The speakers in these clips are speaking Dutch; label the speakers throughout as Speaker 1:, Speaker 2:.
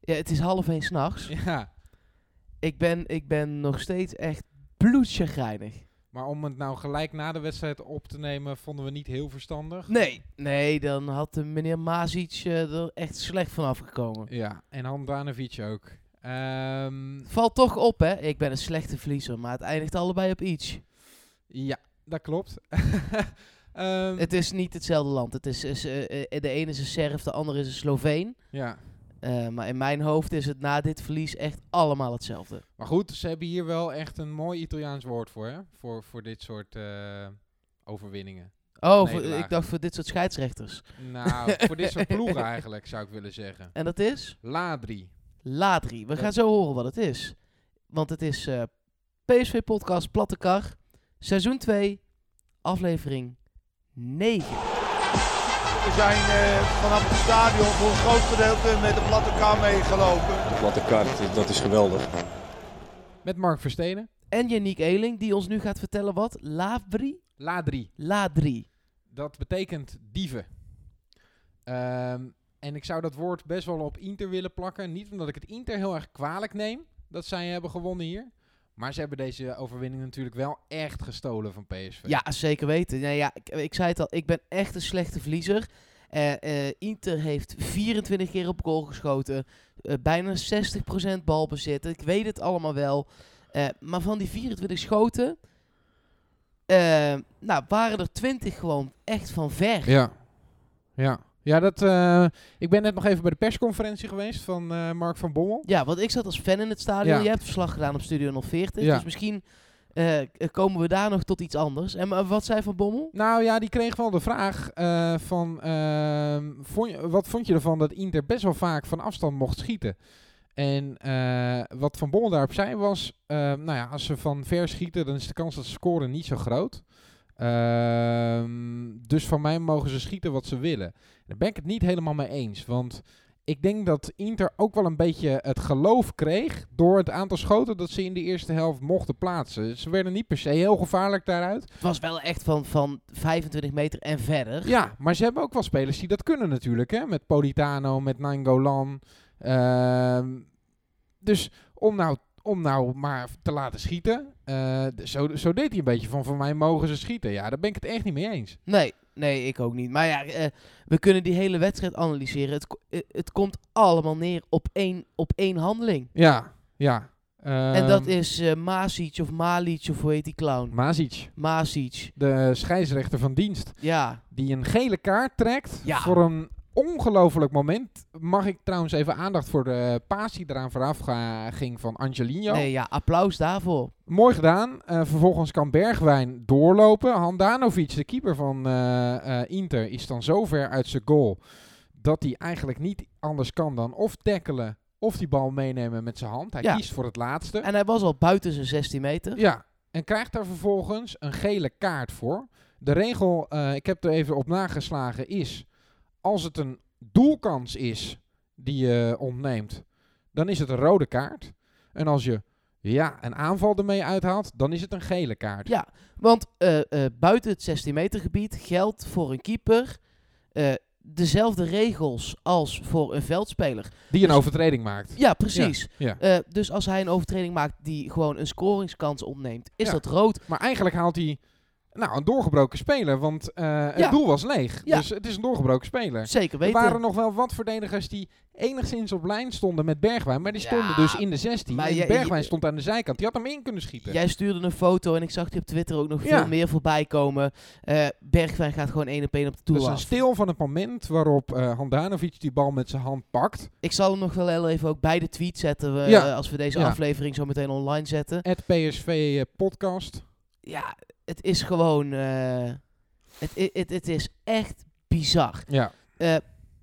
Speaker 1: Ja, het is half één s'nachts.
Speaker 2: Ja.
Speaker 1: Ik ben, ik ben nog steeds echt bloedchagrijnig.
Speaker 2: Maar om het nou gelijk na de wedstrijd op te nemen, vonden we niet heel verstandig.
Speaker 1: Nee, nee, dan had de meneer Mazic eh, er echt slecht van afgekomen.
Speaker 2: Ja, en Handanovic ook. Ehm,
Speaker 1: Valt toch op, hè? Ik ben een slechte verliezer, maar het eindigt allebei op iets.
Speaker 2: ja, dat klopt. Ehm,
Speaker 1: Het is niet hetzelfde land. Het is, is, eh, eh, de ene is een Serf, de andere is een Sloveen.
Speaker 2: ja.
Speaker 1: Eh, maar in mijn hoofd is het na dit verlies echt allemaal hetzelfde.
Speaker 2: Maar goed, ze hebben hier wel echt een mooi Italiaans woord voor, hè? Voor, voor dit soort eh, overwinningen.
Speaker 1: Oh,
Speaker 2: Nee,
Speaker 1: voor-
Speaker 2: laag.
Speaker 1: ik dacht voor dit soort scheidsrechters.
Speaker 2: Nou, voor dit soort ploegen eigenlijk, zou ik willen zeggen.
Speaker 1: En dat is?
Speaker 2: Ladri.
Speaker 1: Ladri. We
Speaker 2: Ja.
Speaker 1: gaan zo horen wat het is. Want het is eh, PSV Podcast Platte Kar, seizoen 2, aflevering 9.
Speaker 3: We zijn eh, vanaf het stadion voor een groot gedeelte met de platte kar meegelopen.
Speaker 4: Platte kar, dat is geweldig.
Speaker 2: Met Mark Verstenen.
Speaker 1: En Yannick Eeling, die ons nu gaat vertellen wat Lavri,
Speaker 2: Ladri.
Speaker 1: Ladri.
Speaker 2: Dat betekent dieven. Ehm, en ik zou dat woord best wel op Inter willen plakken. Niet omdat ik het Inter heel erg kwalijk neem dat zij hebben gewonnen hier. Maar ze hebben deze overwinning natuurlijk wel echt gestolen van PSV.
Speaker 1: Ja, zeker weten. Nou ja, ik, ik zei het al, ik ben echt een slechte verliezer. Eh, eh, Inter heeft 24 keer op goal geschoten. eh, bijna 60% balbezit. Ik weet het allemaal wel. Eh, maar van die 24 schoten. eh, nou, waren er 20 gewoon echt van ver.
Speaker 2: Ja. Ja. Ja, dat, eh, ik ben net nog even bij de persconferentie geweest van eh, Mark van Bommel.
Speaker 1: Ja, want ik zat als fan in het stadion.
Speaker 2: Ja.
Speaker 1: Je hebt verslag gedaan op Studio 040.
Speaker 2: Ja.
Speaker 1: Dus misschien eh, k- komen we daar nog tot iets anders. En maar wat zei Van Bommel?
Speaker 2: Nou ja, die kreeg wel de vraag eh, van... ehm, vond je- wat vond je ervan dat Inter best wel vaak van afstand mocht schieten? En eh, wat Van Bommel daarop zei was... ehm, nou ja, als ze van ver schieten, dan is de kans dat ze scoren niet zo groot. Ehm, dus van mij mogen ze schieten wat ze willen. Daar ben ik het niet helemaal mee eens. Want ik denk dat Inter ook wel een beetje het geloof kreeg... door het aantal schoten dat ze in de eerste helft mochten plaatsen. Ze werden niet per se heel gevaarlijk daaruit.
Speaker 1: Het was wel echt van, van 25 meter en verder.
Speaker 2: Ja, maar ze hebben ook wel spelers die dat kunnen natuurlijk. Hè? Met Politano, met Nangolan. Ehm, dus om nou, om nou maar te laten schieten. eh, d- zo, zo deed hij een beetje van, van mij mogen ze schieten. Ja, daar ben ik het echt niet mee eens.
Speaker 1: Nee, nee, ik ook niet. Maar ja, eh, we kunnen die hele wedstrijd analyseren. Het, ko- eh, het komt allemaal neer op één, op één handeling.
Speaker 2: Ja, ja. Ehm,
Speaker 1: en dat is eh Masic of Malic of hoe heet die clown?
Speaker 2: Mazic,
Speaker 1: Masic,
Speaker 2: de scheidsrechter van dienst.
Speaker 1: ja.
Speaker 2: Die een gele kaart trekt
Speaker 1: Ja.
Speaker 2: voor een ongelofelijk moment. Mag ik trouwens even aandacht voor de paas die eraan vooraf ga- ging van Angelino.
Speaker 1: Nee, ja, applaus daarvoor.
Speaker 2: Mooi gedaan. Eh, vervolgens kan Bergwijn doorlopen. Handanovic, de keeper van eh, eh, Inter, is dan zo ver uit zijn goal dat hij eigenlijk niet anders kan dan of tackelen of die bal meenemen met zijn hand. Hij
Speaker 1: Ja.
Speaker 2: kiest voor het laatste.
Speaker 1: En hij was al buiten zijn 16 meter.
Speaker 2: Ja, en krijgt daar vervolgens een gele kaart voor. De regel, eh, ik heb er even op nageslagen, is als het een doelkans is die je ontneemt, dan is het een rode kaart. En als je ja, een aanval ermee uithaalt, dan is het een gele kaart.
Speaker 1: Ja, want eh, eh, buiten het 16 meter gebied geldt voor een keeper eh, dezelfde regels als voor een veldspeler.
Speaker 2: Die een
Speaker 1: Dus-
Speaker 2: overtreding maakt.
Speaker 1: Ja, precies.
Speaker 2: Ja.
Speaker 1: Eh, dus als hij een overtreding maakt die gewoon een scoringskans opneemt, is
Speaker 2: Ja.
Speaker 1: dat rood.
Speaker 2: Maar eigenlijk haalt hij nou, een doorgebroken speler, want eh, het
Speaker 1: Ja.
Speaker 2: doel was leeg.
Speaker 1: Ja.
Speaker 2: Dus het is een doorgebroken speler.
Speaker 1: Zeker
Speaker 2: Er
Speaker 1: weten.
Speaker 2: waren nog wel wat verdedigers die enigszins op lijn stonden met Bergwijn. Maar die
Speaker 1: Ja,
Speaker 2: stonden dus in de 16.
Speaker 1: maar
Speaker 2: en
Speaker 1: jij-
Speaker 2: Bergwijn
Speaker 1: je-
Speaker 2: stond aan de zijkant. Die had hem in kunnen schieten.
Speaker 1: Jij stuurde een foto en ik zag die op Twitter ook nog
Speaker 2: Ja.
Speaker 1: veel meer voorbij komen. Eh, Bergwijn gaat gewoon één op één op de
Speaker 2: dat is
Speaker 1: toer
Speaker 2: Dus een
Speaker 1: af.
Speaker 2: stil van het moment waarop eh Handanovic die bal met zijn hand pakt.
Speaker 1: Ik zal hem nog wel heel even ook bij de tweet zetten we,
Speaker 2: Ja.
Speaker 1: eh, als we deze
Speaker 2: Ja.
Speaker 1: aflevering zo meteen online zetten.
Speaker 2: Het PSV eh, podcast.
Speaker 1: Ja, het is gewoon... eh, het, i- het, het is echt bizar.
Speaker 2: Ja.
Speaker 1: Eh,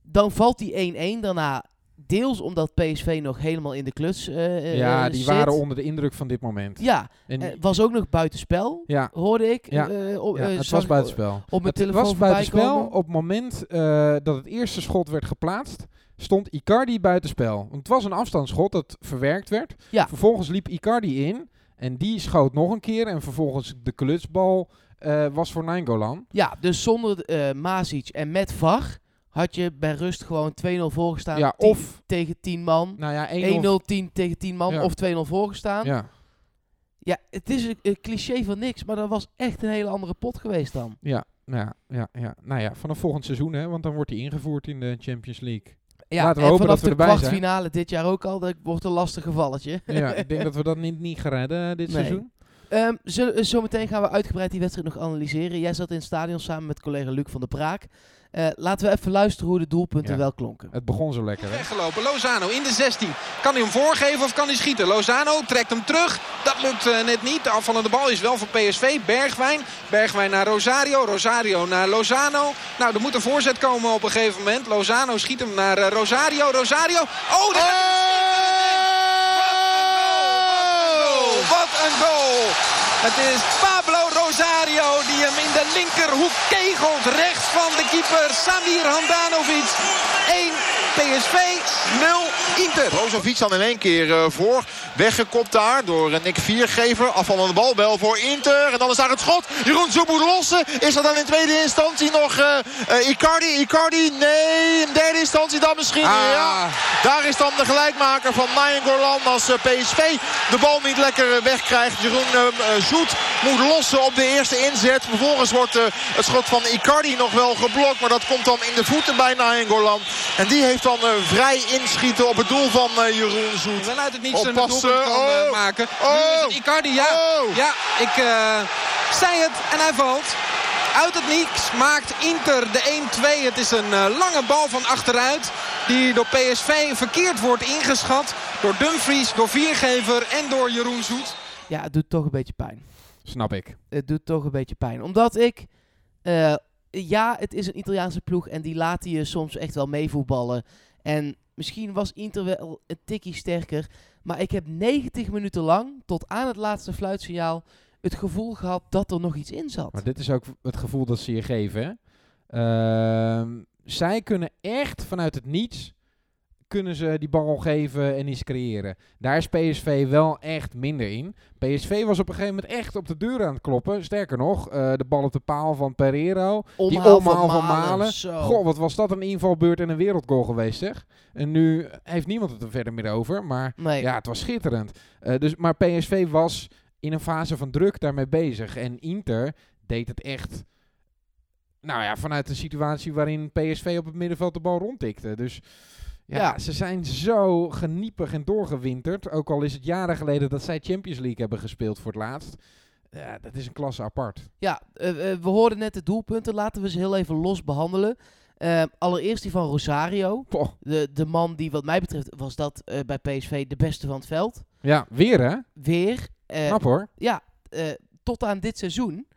Speaker 1: dan valt die 1-1 daarna deels omdat PSV nog helemaal in de kluts eh, eh,
Speaker 2: ja,
Speaker 1: eh,
Speaker 2: die
Speaker 1: zit.
Speaker 2: waren onder de indruk van dit moment.
Speaker 1: Ja,
Speaker 2: En,
Speaker 1: eh, was ook nog buitenspel,
Speaker 2: ja,
Speaker 1: hoorde ik.
Speaker 2: Ja.
Speaker 1: eh, op-
Speaker 2: ja,
Speaker 1: eh,
Speaker 2: het
Speaker 1: zag
Speaker 2: was
Speaker 1: ik
Speaker 2: buitenspel.
Speaker 1: Op mijn
Speaker 2: Het
Speaker 1: telefoon
Speaker 2: was
Speaker 1: voorbij
Speaker 2: buitenspel.
Speaker 1: komen.
Speaker 2: Op het moment eh, dat het eerste schot werd geplaatst, stond Icardi buitenspel. Want het was een afstandsschot dat verwerkt werd.
Speaker 1: Ja.
Speaker 2: Vervolgens liep Icardi in en die schoot nog een keer. En vervolgens de klutsbal eh, was voor Nainggolan.
Speaker 1: Ja, dus zonder eh Mazic en met VAR had je bij rust gewoon 2-0 voorgestaan
Speaker 2: ja,
Speaker 1: tien-
Speaker 2: of
Speaker 1: tegen 10 man.
Speaker 2: nou ja, 1-0.
Speaker 1: 1-0 10 tegen 10 man
Speaker 2: Ja.
Speaker 1: of 2-0 voorgestaan. Ja.
Speaker 2: Ja,
Speaker 1: het is een, een cliché van niks, maar dat was echt een hele andere pot geweest dan.
Speaker 2: ja, nou ja, ja, ja. Nou ja, vanaf volgend seizoen, hè, want dan wordt hij ingevoerd in de Champions League.
Speaker 1: Ja,
Speaker 2: Laten we
Speaker 1: en
Speaker 2: hopen
Speaker 1: vanaf
Speaker 2: dat we
Speaker 1: de
Speaker 2: erbij zijn.
Speaker 1: kwartfinale dit jaar ook al, dat wordt een lastig gevalletje.
Speaker 2: ja, ik denk dat we dat niet, niet gaan redden eh, dit
Speaker 1: Nee.
Speaker 2: seizoen.
Speaker 1: Ehm, zullen- eh, zometeen gaan we uitgebreid die wedstrijd nog analyseren. Jij zat in het stadion samen met collega Luc van der Braak. Eh, laten we even luisteren hoe de doelpunten
Speaker 2: Ja.
Speaker 1: wel klonken.
Speaker 2: Het begon zo lekker, hè?
Speaker 5: Weggelopen. Lozano in de 16. Kan hij hem voorgeven of kan hij schieten? Lozano trekt hem terug. Dat lukt eh, net niet. De afvallende bal is wel voor PSV. Bergwijn. Bergwijn naar Rosario. Rosario naar Lozano. Nou, er moet een voorzet komen op een gegeven moment. Lozano schiet hem naar eh, Rosario. Rosario. Oh, daar gaat
Speaker 3: Oh,
Speaker 5: Wat een goal! Het is Pablo Rosario die hem in de linkerhoek kegelt. Rechts van de keeper Samir Handanovic. 1 PSV, 0 Inter.
Speaker 3: Brozovic dan in één keer eh, voor. Weggekopt daar door eh, Nick Viergever. Afvallende bal wel voor Inter. En dan is daar het schot. Jeroen Zoemoedelosse. Is dat dan in tweede instantie nog eh, eh, Icardi? Icardi? Nee. In derde instantie dan misschien. Ja. Daar is dan de gelijkmaker van Nayen Gorlan als eh, PSV de bal niet lekker eh, wegkrijgt. Jeroen eh, eh, Zoet moet lossen op de eerste inzet. Vervolgens wordt eh, het schot van Icardi nog wel geblokt. Maar dat komt dan in de voeten bij Nayen Gorlan. En die heeft dan eh, vrij inschieten op het doel van eh, Jeroen Zoet.
Speaker 5: Wel uit het niets een doelpunt
Speaker 3: Oppassen.
Speaker 5: kan eh,
Speaker 3: Oh.
Speaker 5: maken. Nu is
Speaker 3: Oh.
Speaker 5: het Icardi, ja.
Speaker 3: Oh.
Speaker 5: Ja, ik eh, zei het en hij valt. Uit het niets maakt Inter de 1-2. Het is een eh, lange bal van achteruit. Die door PSV verkeerd wordt ingeschat. Door Dumfries, door Viergever en door Jeroen Zoet.
Speaker 1: Ja, het doet toch een beetje pijn.
Speaker 2: Snap ik.
Speaker 1: het doet toch een beetje pijn. Omdat ik, eh, ja, het is een Italiaanse ploeg en die laten je soms echt wel meevoetballen. En misschien was Inter wel een tikkie sterker, maar ik heb 90 minuten lang, tot aan het laatste fluitsignaal, het gevoel gehad dat er nog iets in zat.
Speaker 2: Maar dit is ook het gevoel dat ze je geven, hè? Ehm, zij kunnen echt vanuit het niets kunnen ze die bal geven en iets creëren. Daar is PSV wel echt minder in. PSV was op een gegeven moment echt op de deur aan het kloppen. Sterker nog, eh, de bal op de paal van Pereiro. omhaal van Malen.
Speaker 1: zo.
Speaker 2: Goh, wat was dat een invalbeurt en een wereldgoal geweest, zeg. En nu heeft niemand het er verder meer over, maar
Speaker 1: nee.
Speaker 2: ja, het was schitterend. Eh, dus, maar PSV was in een fase van druk daarmee bezig. En Inter deed het echt. Nou ja, vanuit een situatie waarin PSV op het middenveld de bal rondtikte. Dus ja,
Speaker 1: Ja.
Speaker 2: ze zijn zo geniepig en doorgewinterd. Ook al is het jaren geleden dat zij Champions League hebben gespeeld voor het laatst. Ja, dat is een klasse apart.
Speaker 1: Ja, eh, eh, we hoorden net de doelpunten. Laten we ze heel even los behandelen. Eh, allereerst die van Rosario.
Speaker 2: Poh.
Speaker 1: De, de man die wat mij betreft was dat eh, bij PSV de beste van het veld.
Speaker 2: Ja, weer hè?
Speaker 1: Weer. eh,
Speaker 2: Knap hoor.
Speaker 1: ja, eh, tot aan dit seizoen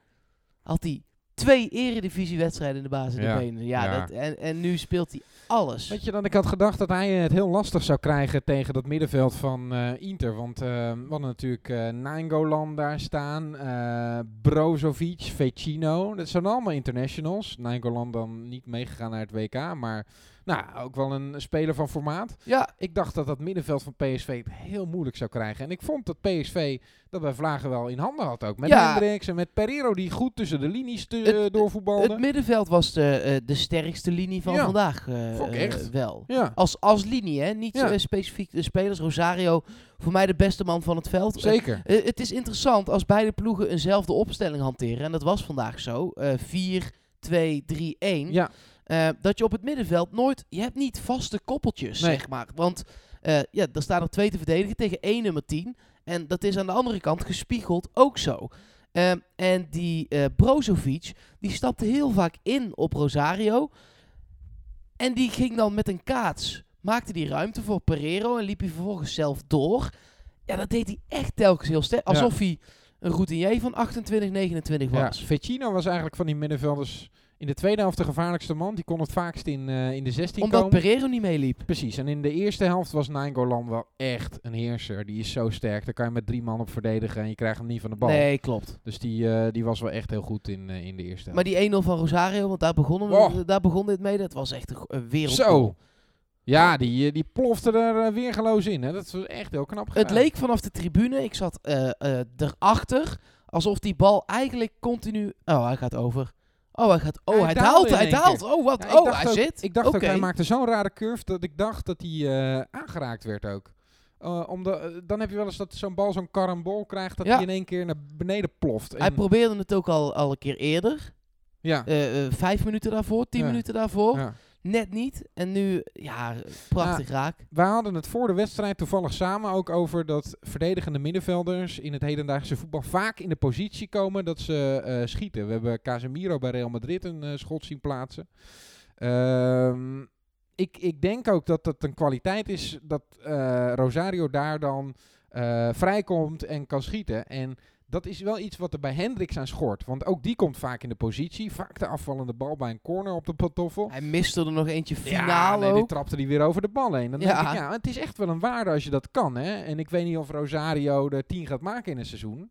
Speaker 1: had hij twee eredivisiewedstrijden in de basis in
Speaker 2: Ja,
Speaker 1: de benen. Ja,
Speaker 2: ja.
Speaker 1: Dat, en, en nu speelt hij alles.
Speaker 2: Weet je dan, ik had gedacht dat hij eh, het heel lastig zou krijgen tegen dat middenveld van eh, Inter. Want eh, we hadden natuurlijk eh Nainggolan daar staan, eh, Brozovic, Vecino. Dat zijn allemaal internationals. Nainggolan dan niet meegegaan naar het WK, maar nou, ook wel een speler van formaat.
Speaker 1: ja,
Speaker 2: Ik dacht dat dat middenveld van PSV het heel moeilijk zou krijgen. En ik vond dat PSV dat bij Vlagen wel in handen had ook. Met
Speaker 1: Ja.
Speaker 2: Hendricks en met Pereiro die goed tussen de linies te,
Speaker 1: Het-
Speaker 2: eh, doorvoetbalde.
Speaker 1: het middenveld was de, eh, de sterkste linie van
Speaker 2: Ja,
Speaker 1: vandaag eh,
Speaker 2: vond ik
Speaker 1: eh,
Speaker 2: echt.
Speaker 1: wel.
Speaker 2: ja,
Speaker 1: Als, als linie, hè? niet
Speaker 2: Ja.
Speaker 1: eh, specifiek de spelers. Rosario, voor mij de beste man van het veld. Eh,
Speaker 2: zeker.
Speaker 1: eh, het is interessant als beide ploegen eenzelfde opstelling hanteren. En dat was vandaag zo. eh 4, 2, 3, 1.
Speaker 2: Ja,
Speaker 1: Eh, dat je op het middenveld nooit... Je hebt niet vaste koppeltjes,
Speaker 2: Nee.
Speaker 1: zeg maar. Want eh, ja, er staan er twee te verdedigen tegen één nummer 10. En dat is aan de andere kant gespiegeld ook zo. Ehm, en die eh, Brozovic, die stapte heel vaak in op Rosario. En die ging dan met een kaats, maakte die ruimte voor Pereiro en liep hij vervolgens zelf door. Ja, dat deed hij echt telkens heel sterk.
Speaker 2: Ja.
Speaker 1: Alsof hij een routinier van 28, 29
Speaker 2: Ja,
Speaker 1: was.
Speaker 2: Vecino was eigenlijk van die middenvelders in de tweede helft de gevaarlijkste man. Die kon het vaakst in, eh, in de 16
Speaker 1: Omdat
Speaker 2: komen.
Speaker 1: Pereiro niet meeliep.
Speaker 2: Precies. En in de eerste helft was Nainggolan wel echt een heerser. Die is zo sterk. Daar kan je met drie man op verdedigen en je krijgt hem niet van de bal.
Speaker 1: Nee, klopt.
Speaker 2: Dus die, eh, die was wel echt heel goed in, eh, in de eerste
Speaker 1: Maar
Speaker 2: helft.
Speaker 1: die 1-0 van Rosario, want daar begon, hem,
Speaker 2: Wow.
Speaker 1: daar begon dit mee. Dat was echt een, go- een wereld.
Speaker 2: Oh. Zo! Ja, die, eh, die plofte er eh, weergeloos in. Hè. Dat was echt heel knap
Speaker 1: Het
Speaker 2: gedaan.
Speaker 1: leek vanaf de tribune, ik zat eh eh, erachter, alsof die bal eigenlijk continu... Oh, hij gaat over. Oh, hij gaat. Oh,
Speaker 2: Hij
Speaker 1: hij,
Speaker 2: daalde
Speaker 1: daalt.
Speaker 2: in
Speaker 1: Hij
Speaker 2: één keer.
Speaker 1: daalt. Oh, wat.
Speaker 2: Ja,
Speaker 1: oh,
Speaker 2: dacht
Speaker 1: hij
Speaker 2: ook,
Speaker 1: zit.
Speaker 2: Ik dacht
Speaker 1: Oké.
Speaker 2: ook, hij maakte zo'n rare curve dat ik dacht dat hij eh, aangeraakt werd ook. Eh, omdat, eh, dan heb je wel eens dat zo'n bal zo'n karambol krijgt dat
Speaker 1: Ja.
Speaker 2: hij in één keer naar beneden ploft.
Speaker 1: Hij
Speaker 2: En-
Speaker 1: probeerde het ook al, al een keer eerder.
Speaker 2: ja,
Speaker 1: Eh, eh, vijf minuten daarvoor, tien
Speaker 2: Ja.
Speaker 1: minuten daarvoor.
Speaker 2: ja.
Speaker 1: Net niet. En nu, ja, prachtig raak.
Speaker 2: Wij hadden het voor de wedstrijd toevallig samen ook over dat verdedigende middenvelders in het hedendaagse voetbal vaak in de positie komen dat ze eh, schieten. We hebben Casemiro bij Real Madrid een eh, schot zien plaatsen. Ehm, ik, ik denk ook dat dat een kwaliteit is dat eh, Rosario daar dan eh, vrijkomt en kan schieten. En dat is wel iets wat er bij Hendricks aan schort. Want ook die komt vaak in de positie. Vaak de afvallende bal bij een corner op de pantoffel.
Speaker 1: Hij miste er nog eentje
Speaker 2: Ja,
Speaker 1: finale
Speaker 2: nee, die
Speaker 1: ook.
Speaker 2: trapte die weer over de bal heen. Dan
Speaker 1: Ja.
Speaker 2: denk ik, ja, het is echt wel een waarde als je dat kan. Hè? En ik weet niet of Rosario er 10 gaat maken in een seizoen.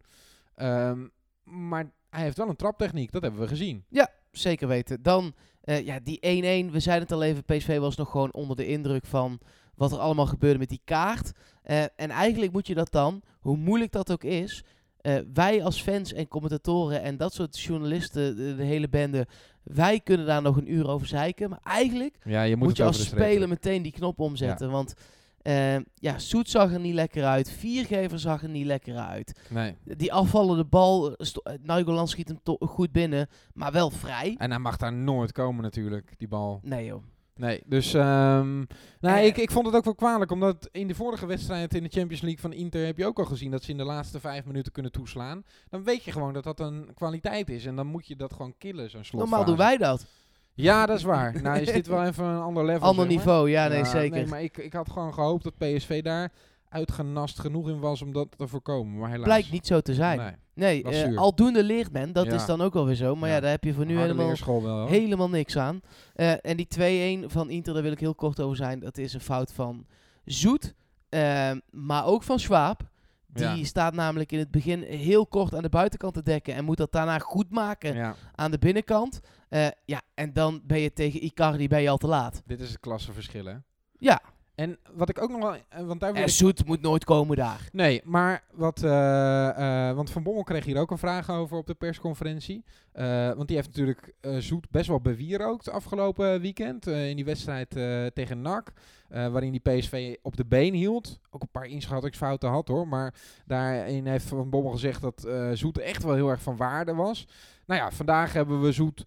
Speaker 2: Ehm, maar hij heeft wel een traptechniek, dat hebben we gezien.
Speaker 1: Zeker weten. Dan, eh, ja, die 1-1. We zeiden het al even, PSV was nog gewoon onder de indruk van wat er allemaal gebeurde met die kaart. Eh, en eigenlijk moet je dat dan, hoe moeilijk dat ook is... eh, wij als fans en commentatoren en dat soort journalisten, de, de hele bende... wij kunnen daar nog een uur over zeiken. Maar eigenlijk
Speaker 2: Ja, je
Speaker 1: moet, je als speler meteen die knop omzetten. Want eh, ja, Soet zag er niet lekker uit. Viergever zag er niet lekker uit.
Speaker 2: Nee.
Speaker 1: Die afvallende bal, eh, sto- eh, Nainggolan schiet hem to- goed binnen, maar wel vrij.
Speaker 2: En hij mag daar nooit komen natuurlijk, die bal.
Speaker 1: Nee joh.
Speaker 2: Nee, dus ehm, nou,
Speaker 1: Eh.
Speaker 2: ik, ik vond het ook wel kwalijk, omdat in de vorige wedstrijd in de Champions League van Inter heb je ook al gezien dat ze in de laatste vijf minuten kunnen toeslaan. Dan weet je gewoon dat dat een kwaliteit is en dan moet je dat gewoon killen, zo'n slotfase.
Speaker 1: Normaal doen wij dat.
Speaker 2: Ja, dat is waar. Nou is dit wel even een ander level.
Speaker 1: Ander
Speaker 2: zeg maar.
Speaker 1: niveau, ja nee zeker.
Speaker 2: maar ik, ik had gewoon gehoopt dat PSV daar uitgenast genoeg in was om dat te voorkomen. Maar helaas.
Speaker 1: Blijkt niet zo te zijn.
Speaker 2: Nee,
Speaker 1: Nee,
Speaker 2: was
Speaker 1: eh,
Speaker 2: zuur.
Speaker 1: aldoende leert men, dat
Speaker 2: Ja.
Speaker 1: is dan ook alweer zo. Maar ja,
Speaker 2: Ja.
Speaker 1: daar heb je voor nu
Speaker 2: Harde Oh.
Speaker 1: helemaal,
Speaker 2: leerschool wel. hoor.
Speaker 1: helemaal niks aan. Eh, en die 2-1 van Inter, daar wil ik heel kort over zijn. Dat is een fout van Zoet, eh, maar ook van Schwab. Die
Speaker 2: Ja.
Speaker 1: staat namelijk in het begin heel kort aan de buitenkant te dekken. En moet dat daarna goed maken
Speaker 2: Ja,
Speaker 1: aan de binnenkant. Eh, ja, en dan ben je tegen Icardi ben je al te laat.
Speaker 2: dit is het klassenverschil, hè?
Speaker 1: Ja.
Speaker 2: En wat ik ook nog wel... eh, Want daar wil
Speaker 1: En
Speaker 2: ik-
Speaker 1: Zoet moet nooit komen daar.
Speaker 2: Nee, maar wat. eh, eh, want Van Bommel kreeg hier ook een vraag over op de persconferentie. Eh, want die heeft natuurlijk eh, Zoet best wel bewierookt afgelopen weekend. eh, in die wedstrijd eh, tegen NAC. eh, waarin die PSV op de been hield. Ook een paar inschattingsfouten had hoor. Maar daarin heeft Van Bommel gezegd dat eh, Zoet echt wel heel erg van waarde was. Nou ja, vandaag hebben we Zoet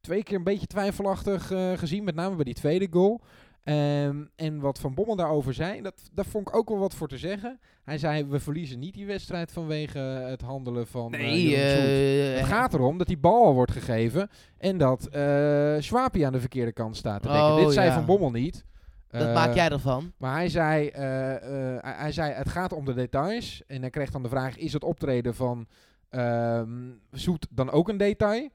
Speaker 2: twee keer een beetje twijfelachtig eh, gezien. Met name bij die tweede goal. Ehm, en wat Van Bommel daarover zei, dat, daar vond ik ook wel wat voor te zeggen. Hij zei, we verliezen niet die wedstrijd vanwege het handelen van eh,
Speaker 1: Nee,
Speaker 2: Jeroen Zoet.
Speaker 1: eh,
Speaker 2: Het gaat erom dat die bal al wordt gegeven en dat eh Swapie aan de verkeerde kant staat te dekken.
Speaker 1: Oh,
Speaker 2: Dit zei
Speaker 1: ja.
Speaker 2: Van Bommel niet.
Speaker 1: dat
Speaker 2: Eh,
Speaker 1: maak jij ervan.
Speaker 2: Maar hij zei, eh, eh, hij- hij zei, het gaat om de details. En hij kreeg dan de vraag, is het optreden van ehm, Zoet dan ook een detail?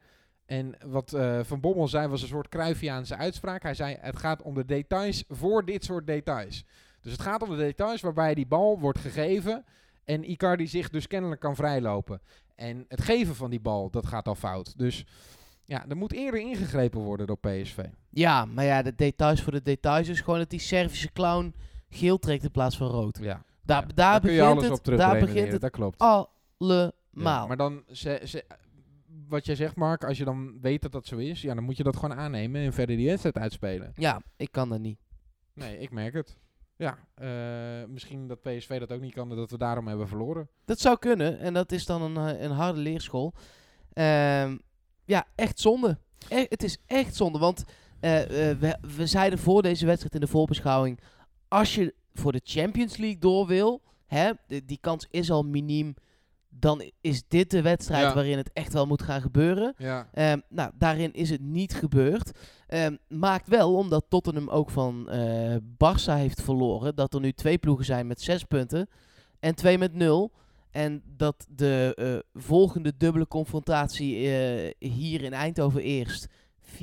Speaker 2: En wat eh, Van Bommel zei was een soort Cruyffiaanse uitspraak. Hij zei, het gaat om de details voor dit soort details. Dus het gaat om de details waarbij die bal wordt gegeven en Icardi zich dus kennelijk kan vrijlopen. En het geven van die bal, dat gaat al fout. Dus ja, er moet eerder ingegrepen worden door PSV.
Speaker 1: Ja, maar ja, de details voor de details is gewoon dat die Servische clown geel trekt in plaats van rood.
Speaker 2: Ja,
Speaker 1: Daar,
Speaker 2: Ja,
Speaker 1: daar,
Speaker 2: kun je alles
Speaker 1: begint
Speaker 2: op
Speaker 1: het,
Speaker 2: terug
Speaker 1: daar begint
Speaker 2: redeneren,
Speaker 1: het
Speaker 2: dat klopt. Ja,
Speaker 1: allemaal.
Speaker 2: maar dan, ze, ze- wat jij zegt, Mark, als je dan weet dat dat zo is, ja, dan moet je dat gewoon aannemen en verder die wedstrijd uitspelen.
Speaker 1: Ja, ik kan dat niet.
Speaker 2: Nee, ik merk het. Ja, eh, misschien dat PSV dat ook niet kan, dat we daarom hebben verloren.
Speaker 1: Dat zou kunnen en dat is dan een, eh, een harde leerschool. Ehm, ja, echt zonde. E- het is echt zonde, want eh, eh, we, we zeiden voor deze wedstrijd in de voorbeschouwing... als je voor de Champions League door wil, hè, de- die kans is al miniem... dan is dit de wedstrijd
Speaker 2: Ja.
Speaker 1: waarin het echt wel moet gaan gebeuren.
Speaker 2: Ja,
Speaker 1: Ehm, nou, daarin is het niet gebeurd. Ehm, maakt wel, omdat Tottenham ook van eh Barça heeft verloren, dat er nu twee ploegen zijn met zes punten en twee met nul. En dat de eh, volgende dubbele confrontatie eh, hier in Eindhoven eerst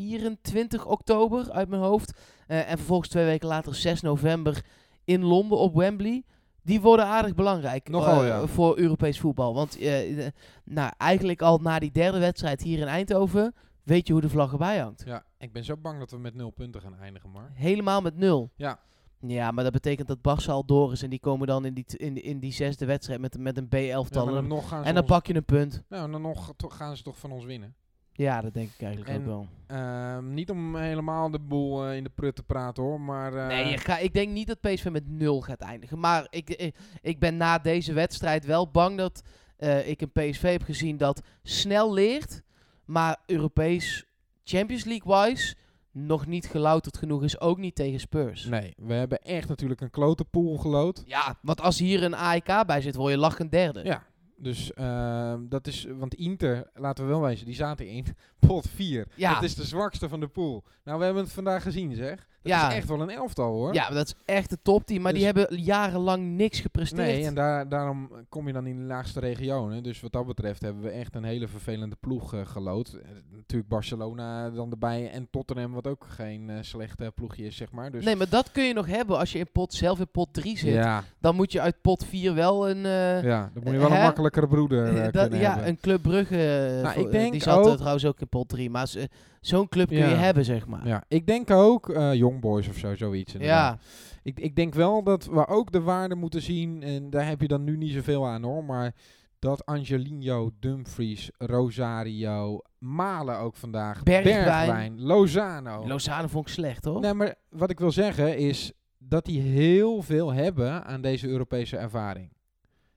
Speaker 1: 24 oktober uit mijn hoofd. eh, en vervolgens twee weken later 6 november in Londen op Wembley. Die worden aardig belangrijk
Speaker 2: Nogal,
Speaker 1: eh,
Speaker 2: ja.
Speaker 1: voor Europees voetbal. Want eh, eh, nou, eigenlijk al na die derde wedstrijd hier in Eindhoven weet je hoe de vlag erbij hangt.
Speaker 2: ja, ik ben zo bang dat we met nul punten gaan eindigen, Mark.
Speaker 1: Helemaal met nul.
Speaker 2: Ja.
Speaker 1: Ja, maar dat betekent dat Barça al door is. En die komen dan in die, t- in, in die zesde wedstrijd met, met een
Speaker 2: Ja, maar
Speaker 1: B11-tal.
Speaker 2: dan nog gaan ze
Speaker 1: en dan
Speaker 2: ons-
Speaker 1: pak je een punt.
Speaker 2: nou, dan nog to- gaan ze toch van ons winnen.
Speaker 1: Ja, dat denk ik eigenlijk
Speaker 2: En-
Speaker 1: ook wel.
Speaker 2: Ehm, niet om helemaal de boel eh, in de prut te praten hoor, maar... eh,
Speaker 1: nee, je ga, ik denk niet dat PSV met 0 gaat eindigen. Maar ik, ik, ik ben na deze wedstrijd wel bang dat eh, ik een PSV heb gezien dat snel leert. Maar Europees Champions League-wise nog niet gelouterd genoeg is. Ook niet tegen Spurs.
Speaker 2: nee, we hebben echt natuurlijk een klote pool gelood.
Speaker 1: Ja, want als hier een AEK bij zit, word je lachend derde.
Speaker 2: Ja, dus ehm, dat is... Want Inter, laten we wel wezen, die zaten in pot 4.
Speaker 1: Ja.
Speaker 2: Dat is de zwakste van de pool. Nou, we hebben het vandaag gezien zeg. Dat
Speaker 1: Ja.
Speaker 2: is echt wel een elftal hoor.
Speaker 1: Ja, maar dat is echt een topteam. Maar die
Speaker 2: Dus-
Speaker 1: hebben jarenlang niks gepresteerd.
Speaker 2: Nee, en daar, daarom kom je dan in de laagste regionen. Dus wat dat betreft hebben we echt een hele vervelende ploeg eh, gelood. Eh, natuurlijk Barcelona dan erbij en Tottenham, wat ook geen eh, slechte ploegje is, zeg maar. Dus
Speaker 1: Nee, maar dat kun je nog hebben als je in pot, zelf in pot 3 zit.
Speaker 2: ja,
Speaker 1: Dan moet je uit pot 4 wel een... eh,
Speaker 2: ja, dan moet je wel
Speaker 1: Hè?
Speaker 2: een makkelijkere broeder
Speaker 1: dat-
Speaker 2: eh, kunnen
Speaker 1: ja,
Speaker 2: hebben.
Speaker 1: een Club Brugge. eh,
Speaker 2: Nou,
Speaker 1: voor-
Speaker 2: ik denk
Speaker 1: die zat eh,
Speaker 2: ook-
Speaker 1: trouwens ook in pot 3. Maar ze- zo'n club kun
Speaker 2: Ja.
Speaker 1: je hebben, zeg maar.
Speaker 2: Ja, ik denk ook eh Young Boys of zo, zoiets. inderdaad.
Speaker 1: Ja,
Speaker 2: Ik, ik denk wel dat we ook de waarde moeten zien. En daar heb je dan nu niet zoveel aan hoor. Maar dat Angelino, Dumfries, Rosario, Malen ook vandaag.
Speaker 1: Bergwijn.
Speaker 2: Lozano.
Speaker 1: Lozano vond ik slecht, hoor.
Speaker 2: Nee, maar wat ik wil zeggen is dat die heel veel hebben aan deze Europese ervaring.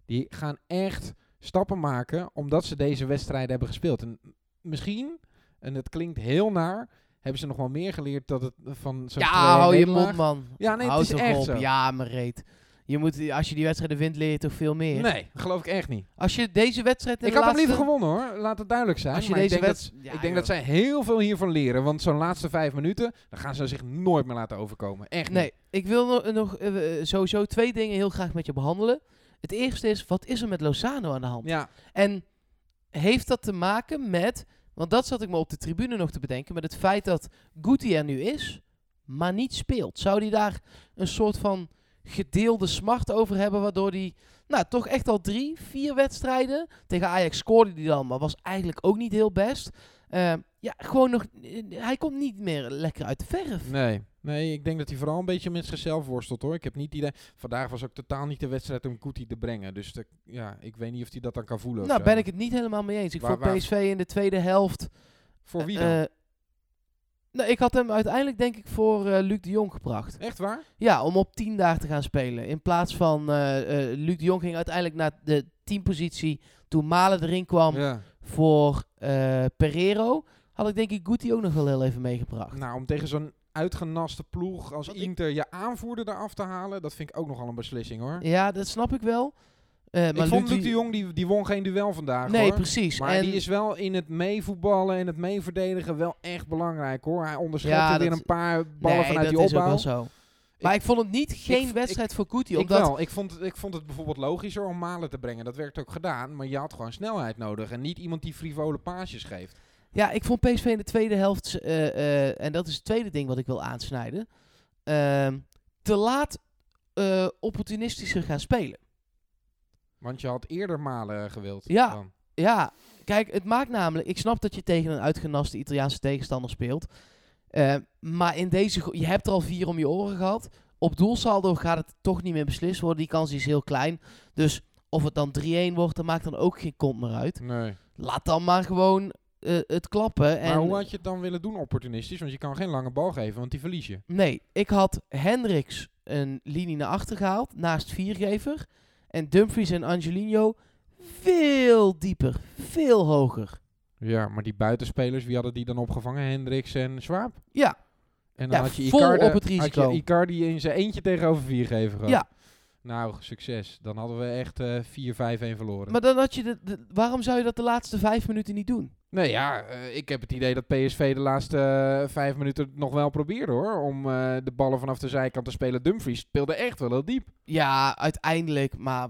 Speaker 2: Die gaan echt stappen maken omdat ze deze wedstrijden hebben gespeeld. En misschien, en het klinkt heel naar, hebben ze nog wel meer geleerd dat het van zo'n
Speaker 1: ja,
Speaker 2: 2-1
Speaker 1: hou je
Speaker 2: nederlaag-
Speaker 1: mond, man.
Speaker 2: Ja, nee,
Speaker 1: hou
Speaker 2: het is
Speaker 1: toch
Speaker 2: echt
Speaker 1: op.
Speaker 2: zo.
Speaker 1: Ja, maar reet. Je moet, als je die wedstrijden wint, leer je toch veel meer.
Speaker 2: Nee, geloof ik echt niet.
Speaker 1: Als je deze wedstrijd in
Speaker 2: Ik
Speaker 1: de
Speaker 2: had hem liever
Speaker 1: laatste-
Speaker 2: gewonnen hoor, laat het duidelijk zijn.
Speaker 1: Als je
Speaker 2: maar
Speaker 1: deze
Speaker 2: ik denk, dat,
Speaker 1: wedstrijd...
Speaker 2: ik denk dat zij heel veel hiervan leren. Want zo'n laatste vijf minuten, dan gaan ze zich nooit meer laten overkomen. Echt
Speaker 1: Nee, ik wil no- nog eh, eh, sowieso twee dingen heel graag met je behandelen. Het eerste is, wat is er met Lozano aan de hand?
Speaker 2: niet. Ja,
Speaker 1: En heeft dat te maken met, want dat zat ik me op de tribune nog te bedenken, met het feit dat Guti er nu is, maar niet speelt. Zou die daar een soort van gedeelde smart over hebben, waardoor die, nou toch echt al drie, vier wedstrijden, tegen Ajax scoorde die dan, maar was eigenlijk ook niet heel best. Eh, ja, gewoon nog, eh, hij komt niet meer lekker uit de verf.
Speaker 2: Nee. Nee, ik denk dat hij vooral een beetje met zichzelf worstelt hoor. Ik heb niet het idee. Vandaag was ook totaal niet de wedstrijd om Kuti te brengen. Dus de- ja, ik weet niet of hij dat dan kan voelen. of
Speaker 1: Nou,
Speaker 2: zo.
Speaker 1: ben ik het niet helemaal mee eens. Ik
Speaker 2: Waar-
Speaker 1: vond
Speaker 2: waar-
Speaker 1: PSV in de tweede helft...
Speaker 2: Voor wie dan?
Speaker 1: eh, nou, ik had hem uiteindelijk denk ik voor eh, Luc de Jong gebracht.
Speaker 2: Echt waar?
Speaker 1: Ja, om op 10 daar te gaan spelen. In plaats van... eh, eh, Luc de Jong ging uiteindelijk naar de 10 positie. Toen Malen erin kwam
Speaker 2: ja.
Speaker 1: voor eh, Pereiro... had ik denk ik Guti ook nog wel heel even meegebracht.
Speaker 2: Nou, om tegen zo'n uitgenaste ploeg als
Speaker 1: Want ik-
Speaker 2: Inter je aanvoerder eraf te halen, dat vind ik ook nogal een beslissing hoor.
Speaker 1: Ja, dat snap ik wel. Eh, maar
Speaker 2: ik vond
Speaker 1: Luc
Speaker 2: Luc de Jong, die, die won geen duel vandaag
Speaker 1: Nee,
Speaker 2: hoor.
Speaker 1: precies.
Speaker 2: Maar
Speaker 1: en
Speaker 2: die is wel in het meevoetballen en het meeverdedigen wel echt belangrijk hoor. Hij onderschept
Speaker 1: Ja,
Speaker 2: er weer
Speaker 1: dat-
Speaker 2: een paar ballen
Speaker 1: nee,
Speaker 2: vanuit
Speaker 1: dat
Speaker 2: die
Speaker 1: is ook
Speaker 2: opbouw.
Speaker 1: wel zo. Maar ik, vond het niet geen
Speaker 2: ik-
Speaker 1: wedstrijd voor Guti.
Speaker 2: Ik
Speaker 1: Omdat
Speaker 2: wel. Ik vond, ik vond het bijvoorbeeld logischer om malen te brengen. Dat werd ook gedaan. Maar je had gewoon snelheid nodig. En niet iemand die frivole paasjes geeft.
Speaker 1: Ja, ik vond PSV in de tweede helft, eh, eh, en dat is het tweede ding wat ik wil aansnijden, ehm, te laat eh, opportunistischer gaan spelen.
Speaker 2: Want je had eerder malen gewild.
Speaker 1: Ja.
Speaker 2: dan.
Speaker 1: Ja, kijk, het maakt namelijk, ik snap dat je tegen een uitgenaste Italiaanse tegenstander speelt, eh, maar in deze, gro- je hebt er al vier om je oren gehad. Op doelsaldo gaat het toch niet meer beslist worden, die kans is heel klein. Dus of het dan 3-1 wordt, dat maakt dan ook geen kont meer uit.
Speaker 2: Nee.
Speaker 1: Laat dan maar gewoon eh, het klappen. En
Speaker 2: Maar hoe had je het dan willen doen opportunistisch? Want je kan geen lange bal geven, want die verlies je.
Speaker 1: Nee, ik had Hendricks een linie naar achter gehaald, naast viergever. En Dumfries en Angelino veel dieper, veel hoger.
Speaker 2: Ja, maar die buitenspelers, wie hadden die dan opgevangen? Hendricks en Swaap?
Speaker 1: Ja.
Speaker 2: En dan
Speaker 1: Ja,
Speaker 2: had je
Speaker 1: vol
Speaker 2: Icardi,
Speaker 1: op het risico.
Speaker 2: Had je Icardi in zijn eentje tegenover vier geven gehad.
Speaker 1: Ja.
Speaker 2: Nou, succes. Dan hadden we echt eh, 4-5-1 verloren.
Speaker 1: Maar dan had je de, de- waarom zou je dat de laatste vijf minuten niet doen?
Speaker 2: Nee, ja, eh, ik heb het idee dat PSV de laatste eh, vijf minuten het nog wel probeerde hoor. Om eh, de ballen vanaf de zijkant te spelen. Dumfries speelde echt wel heel diep.
Speaker 1: Ja, uiteindelijk, maar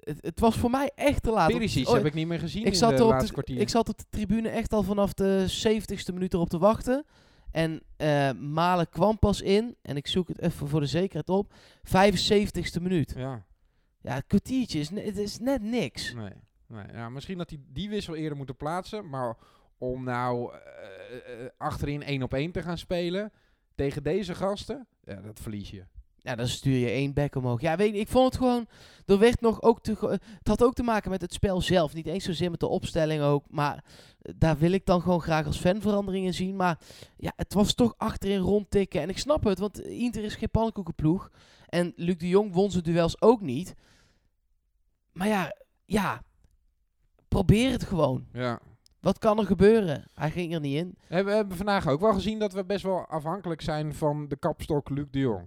Speaker 1: het, het was voor mij echt te laat.
Speaker 2: Perisic
Speaker 1: Oh,
Speaker 2: heb ik niet meer gezien
Speaker 1: ik
Speaker 2: in
Speaker 1: zat er
Speaker 2: de
Speaker 1: op
Speaker 2: laatste
Speaker 1: de-
Speaker 2: kwartier.
Speaker 1: Ik zat op de tribune echt al vanaf de 70ste minuut erop te wachten. En eh, Malen kwam pas in, en ik zoek het even voor de zekerheid op, 75ste minuut.
Speaker 2: Ja,
Speaker 1: Ja, een kwartiertje is, ne- het is net niks.
Speaker 2: nee. nee. Ja, misschien dat hij die wissel eerder moeten plaatsen. Maar om nou eh, eh, achterin één op één te gaan spelen tegen deze gasten, ja, dat verlies je.
Speaker 1: Ja, dan stuur je één bek omhoog. Ja, weet je, ik vond het gewoon... Er werd nog ook te, ge- het had ook te maken met het spel zelf. Niet eens zozeer met de opstelling ook. Maar eh, daar wil ik dan gewoon graag als fan verandering in zien. Maar ja, het was toch achterin rondtikken. En ik snap het, want Inter is geen pannenkoekenploeg. En Luc de Jong won zijn duels ook niet. Maar ja, ja, probeer het gewoon.
Speaker 2: Ja.
Speaker 1: Wat kan er gebeuren? Hij ging er niet in.
Speaker 2: We hebben vandaag ook wel gezien dat we best wel afhankelijk zijn van de kapstok Luc de Jong.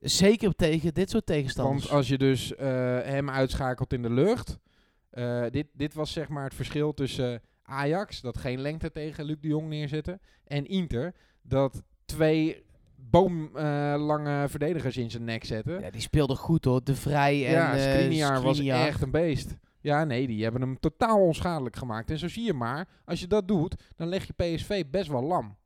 Speaker 1: Zeker tegen dit soort tegenstanders.
Speaker 2: Want als je dus eh, hem uitschakelt in de lucht. eh, dit, dit was zeg maar het verschil tussen Ajax, dat geen lengte tegen Luc de Jong neerzetten. En Inter, dat twee boomlange eh, verdedigers in zijn nek zetten.
Speaker 1: ja, die speelde goed hoor. De Vrij en
Speaker 2: Ja,
Speaker 1: eh,
Speaker 2: Skriniar was
Speaker 1: Skriniar.
Speaker 2: echt een beest. Ja, nee, die hebben hem totaal onschadelijk gemaakt. En zo zie je maar, als je dat doet, dan leg je PSV best wel lam.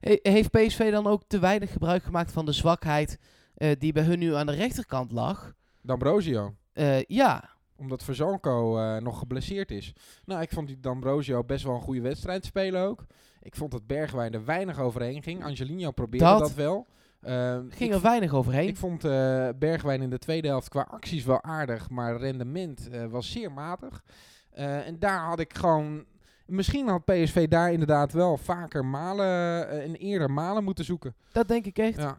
Speaker 1: He- Heeft PSV dan ook te weinig gebruik gemaakt van de zwakheid eh, die bij hun nu aan de rechterkant lag?
Speaker 2: D'Ambrosio,
Speaker 1: Eh, ja,
Speaker 2: omdat Verzanko eh, nog geblesseerd is. Nou, ik vond die D'Ambrosio best wel een goede wedstrijd spelen ook. Ik vond dat Bergwijn er weinig overheen ging. Angelino probeerde dat,
Speaker 1: Dat
Speaker 2: wel. Ehm,
Speaker 1: ging
Speaker 2: ik
Speaker 1: er weinig overheen.
Speaker 2: Ik vond eh, Bergwijn in de tweede helft qua acties wel aardig, maar rendement eh, was zeer matig. Eh, en daar had ik gewoon. Misschien had PSV daar inderdaad wel vaker malen eh, en eerder malen moeten zoeken.
Speaker 1: dat denk ik echt. Ja,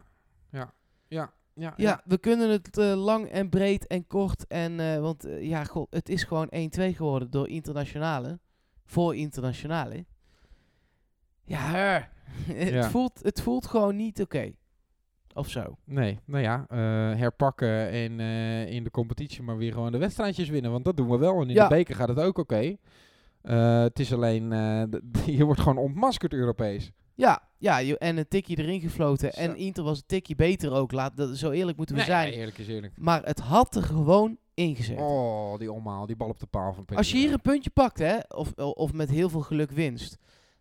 Speaker 2: Ja, ja, ja, ja.
Speaker 1: we kunnen het eh, lang en breed en kort. En, eh, want eh, ja, goh, het is gewoon 1-2 geworden door internationale. Voor internationale. Ja, hè. het,
Speaker 2: Ja.
Speaker 1: Voelt, het voelt gewoon niet oké. Of zo.
Speaker 2: Nee, nou ja, eh, herpakken en eh, in de competitie maar weer gewoon de wedstrijdjes winnen. Want dat doen we wel. En in
Speaker 1: Ja.
Speaker 2: de beker gaat het ook oké. Eh, het is alleen, eh, d- je wordt gewoon ontmaskerd Europees.
Speaker 1: Ja, ja je- en een tikje erin gefloten.
Speaker 2: Zo.
Speaker 1: En Inter was een tikje beter ook. Laat, dat, zo eerlijk moeten we
Speaker 2: Nee,
Speaker 1: zijn.
Speaker 2: eerlijk is eerlijk.
Speaker 1: Maar het had er gewoon ingezet.
Speaker 2: Oh, die omhaal, die bal op de paal van PSV.
Speaker 1: Als je hier een puntje pakt, hè, of, of met heel veel geluk winst,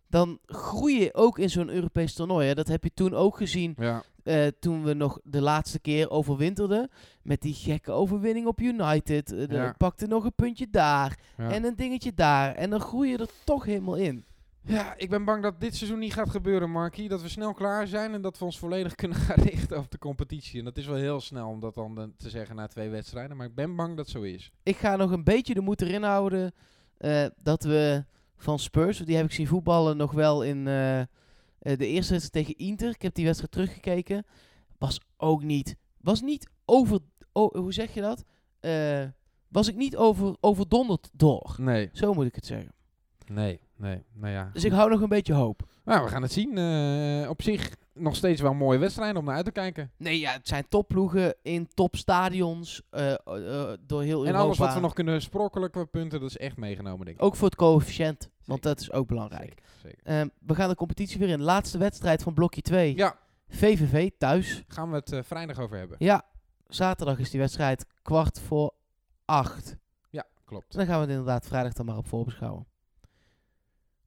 Speaker 1: dan groei je ook in zo'n Europees toernooi. Hè. Dat heb je toen ook gezien
Speaker 2: Ja,
Speaker 1: eh, toen we nog de laatste keer overwinterden. Met die gekke overwinning op United. Eh, dan
Speaker 2: Ja.
Speaker 1: pakte nog een puntje daar
Speaker 2: ja.
Speaker 1: en een dingetje daar. En dan groei je er toch helemaal in.
Speaker 2: ja, ik ben bang dat dit seizoen niet gaat gebeuren, Markie. Dat we snel klaar zijn en dat we ons volledig kunnen gaan richten op de competitie. En dat is wel heel snel om dat dan eh, te zeggen na twee wedstrijden. Maar ik ben bang dat zo is.
Speaker 1: Ik ga nog een beetje de moed erin houden eh, dat we van Spurs, want die heb ik zien voetballen nog wel in eh, eh, de eerste wedstrijd tegen Inter. Ik heb die wedstrijd teruggekeken. Was ook niet, was niet over, o- hoe zeg je dat? Eh, was ik niet over, overdonderd door.
Speaker 2: Nee,
Speaker 1: Zo moet ik het zeggen.
Speaker 2: nee, nee. Nou ja.
Speaker 1: Dus ik hou nog een beetje hoop.
Speaker 2: Nou, we gaan het zien. Eh, op zich nog steeds wel een mooie wedstrijden om naar uit te kijken.
Speaker 1: Nee, ja, het zijn topploegen in topstadions eh, eh, door heel Europa.
Speaker 2: En alles wat we nog kunnen sprokkelen qua punten, dat is echt meegenomen, denk ik.
Speaker 1: Ook voor het coëfficiënt, want
Speaker 2: Zeker.
Speaker 1: dat is ook belangrijk.
Speaker 2: Zeker, zeker.
Speaker 1: Ehm, we gaan de competitie weer in. Laatste wedstrijd van blokje 2.
Speaker 2: Ja,
Speaker 1: VVV thuis.
Speaker 2: gaan we het eh, vrijdag over hebben.
Speaker 1: Ja, zaterdag is die wedstrijd kwart voor acht.
Speaker 2: Ja, klopt.
Speaker 1: En dan gaan we het inderdaad vrijdag dan maar op voorbeschouwen.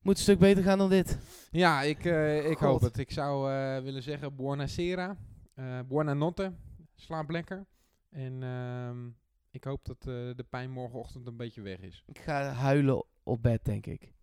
Speaker 1: Moet een stuk beter gaan dan dit.
Speaker 2: Ja, ik, eh, ik
Speaker 1: God.
Speaker 2: hoop het. Ik zou eh, willen zeggen buonasera, eh buonanotte, slaap lekker. En ehm, ik hoop dat eh, de pijn morgenochtend een beetje weg is.
Speaker 1: Ik ga huilen op bed, denk ik.